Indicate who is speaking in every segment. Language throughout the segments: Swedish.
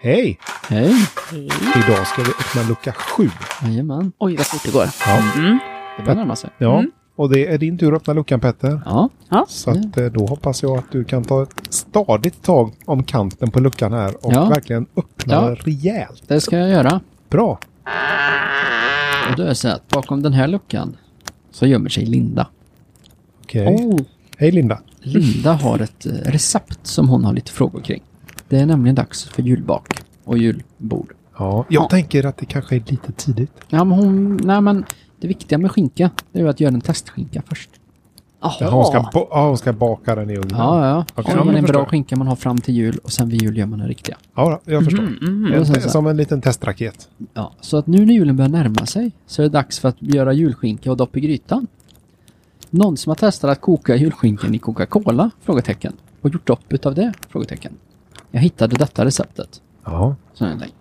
Speaker 1: Hej!
Speaker 2: Hej.
Speaker 1: Idag ska vi öppna lucka 7.
Speaker 2: Jajamän.
Speaker 3: Oj, vad fort det går.
Speaker 1: Ja.
Speaker 2: Mm. Det börjar närma sig.
Speaker 1: ja. Och det är din tur att öppna luckan Petter.
Speaker 2: Ja.
Speaker 3: Ja.
Speaker 1: Så att,
Speaker 2: Mm.
Speaker 1: eh, då hoppas jag att du kan ta ett stadigt tag om kanten på luckan här och
Speaker 2: Ja.
Speaker 1: verkligen öppna
Speaker 2: Ja.
Speaker 1: rejält.
Speaker 2: Det ska jag göra.
Speaker 1: Bra!
Speaker 2: Och då är det så att bakom den här luckan så gömmer sig Linda.
Speaker 1: Okej.
Speaker 3: Oh.
Speaker 1: Hej Linda!
Speaker 2: Linda har ett eh, recept som hon har lite frågor kring. Det är nämligen dags för julbak och julbord.
Speaker 1: Ja, jag tänker att det kanske är lite tidigt.
Speaker 2: Ja, men hon... Nej, men det viktiga med skinka, det är ju att göra en testskinka först.
Speaker 1: Ja. Hon, ska ba- ja, hon ska baka den i ugnen.
Speaker 2: Ja, ja.
Speaker 1: Okej,
Speaker 2: Okay,
Speaker 1: ja,
Speaker 2: man
Speaker 1: men
Speaker 2: en
Speaker 1: förstår
Speaker 2: bra
Speaker 1: jag.
Speaker 2: skinka man har fram till jul och sen vid jul gör man den riktiga.
Speaker 1: Ja, jag förstår.
Speaker 2: Och sen
Speaker 1: En,
Speaker 2: mm. så här-
Speaker 1: som en liten testraket.
Speaker 2: Ja, så att nu när julen börjar närma sig så är det dags för att göra julskinka och dopp i grytan. Någon som har testat att koka julskinkan i Coca-Cola? Frågetecken. Och gjort dopp utav det? Frågetecken. Jag hittade detta receptet.
Speaker 1: Ja,
Speaker 2: Så en länk.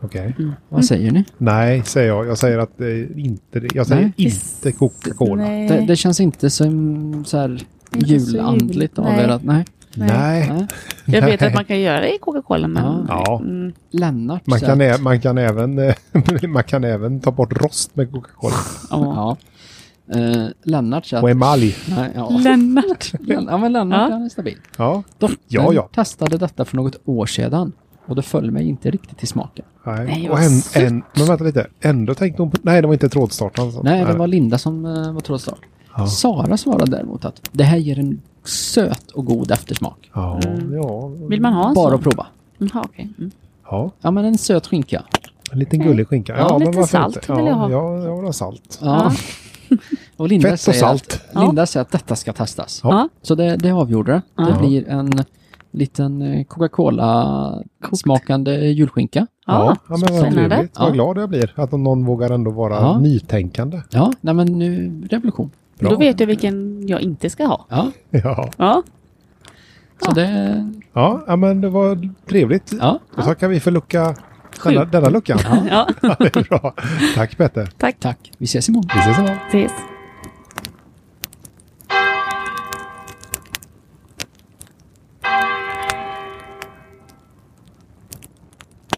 Speaker 1: okej.
Speaker 2: Vad säger ni?
Speaker 1: Nej, säger jag. Jag säger att eh, inte det. Jag säger
Speaker 2: Nej.
Speaker 1: inte Coca-Cola. Nej.
Speaker 4: Nej.
Speaker 3: Eh.
Speaker 2: Det, det känns inte som så här
Speaker 4: Inte så
Speaker 2: julandligt
Speaker 4: jul-
Speaker 2: av
Speaker 4: nej.
Speaker 2: er att, nej. nej.
Speaker 3: Jag vet att man kan göra det i Coca-Cola, men...
Speaker 2: Ja.
Speaker 1: Ja.
Speaker 3: Mm.
Speaker 2: Lennart
Speaker 1: Man
Speaker 2: så
Speaker 1: kan,
Speaker 2: att-
Speaker 1: ä- man, kan även, eh, man kan även ta bort rost med Coca-Cola.
Speaker 3: Ja.
Speaker 2: Ja. Eh, Lennart så att-
Speaker 1: Och emalj.
Speaker 2: Nej, ja.
Speaker 3: Lennart.
Speaker 2: Len- ja, men Lennart
Speaker 3: Ja.
Speaker 2: han är stabil.
Speaker 1: Ja.
Speaker 2: Dottern
Speaker 1: Ja, ja.
Speaker 2: testade detta för något år sedan och det föll mig inte riktigt till smaken.
Speaker 1: Nej.
Speaker 3: Nej,
Speaker 1: och
Speaker 3: vad
Speaker 1: en,
Speaker 3: sött.
Speaker 1: en, men vänta lite. Ändå tänkte hon på... Nej, det var inte trådstartaren. Alltså.
Speaker 2: Nej, det var Linda som eh, var trådstart.
Speaker 1: Ja.
Speaker 2: Sara svarade däremot att det här ger en söt och god eftersmak.
Speaker 1: Ja, ja.
Speaker 3: Mm. Vill man ha en
Speaker 2: Bara
Speaker 3: sån?
Speaker 2: att prova.
Speaker 3: Jaha, okej. Mm.
Speaker 1: ja.
Speaker 2: Ja, men en söt skinka.
Speaker 1: En liten gullig skinka.
Speaker 3: Ja, lite
Speaker 1: varför
Speaker 3: salt
Speaker 1: inte?
Speaker 3: vill jag
Speaker 1: ja,
Speaker 3: ha.
Speaker 1: ja, jag vill ha salt.
Speaker 2: Ja. Och Linda
Speaker 1: Fett och
Speaker 2: säger
Speaker 1: salt.
Speaker 2: Att, Linda säger att detta ska testas.
Speaker 1: Ja.
Speaker 2: Så det, det avgjorde det.
Speaker 3: Ja.
Speaker 2: Det blir en liten eh, Coca-Cola-smakande julskinka.
Speaker 3: Ja.
Speaker 1: ja men vad
Speaker 3: Spännande.
Speaker 1: trevligt. Vad
Speaker 2: Ja.
Speaker 1: glad jag blir att någon vågar ändå vara
Speaker 2: Ja.
Speaker 1: nytänkande.
Speaker 2: Ja, nej men nu revolution.
Speaker 1: Bra.
Speaker 3: Då vet jag vilken jag inte ska ha.
Speaker 2: Ja,
Speaker 1: Ja.
Speaker 3: Ja.
Speaker 2: så det...
Speaker 1: Ja, ja, men det var trevligt.
Speaker 2: Ja,
Speaker 1: Då tackar vi för lucka... Denna, denna luckan.
Speaker 3: ja.
Speaker 1: Ja, det är bra. Tack Petter.
Speaker 2: tack. Vi ses imorgon.
Speaker 1: Vi ses imorgon.
Speaker 3: Ses.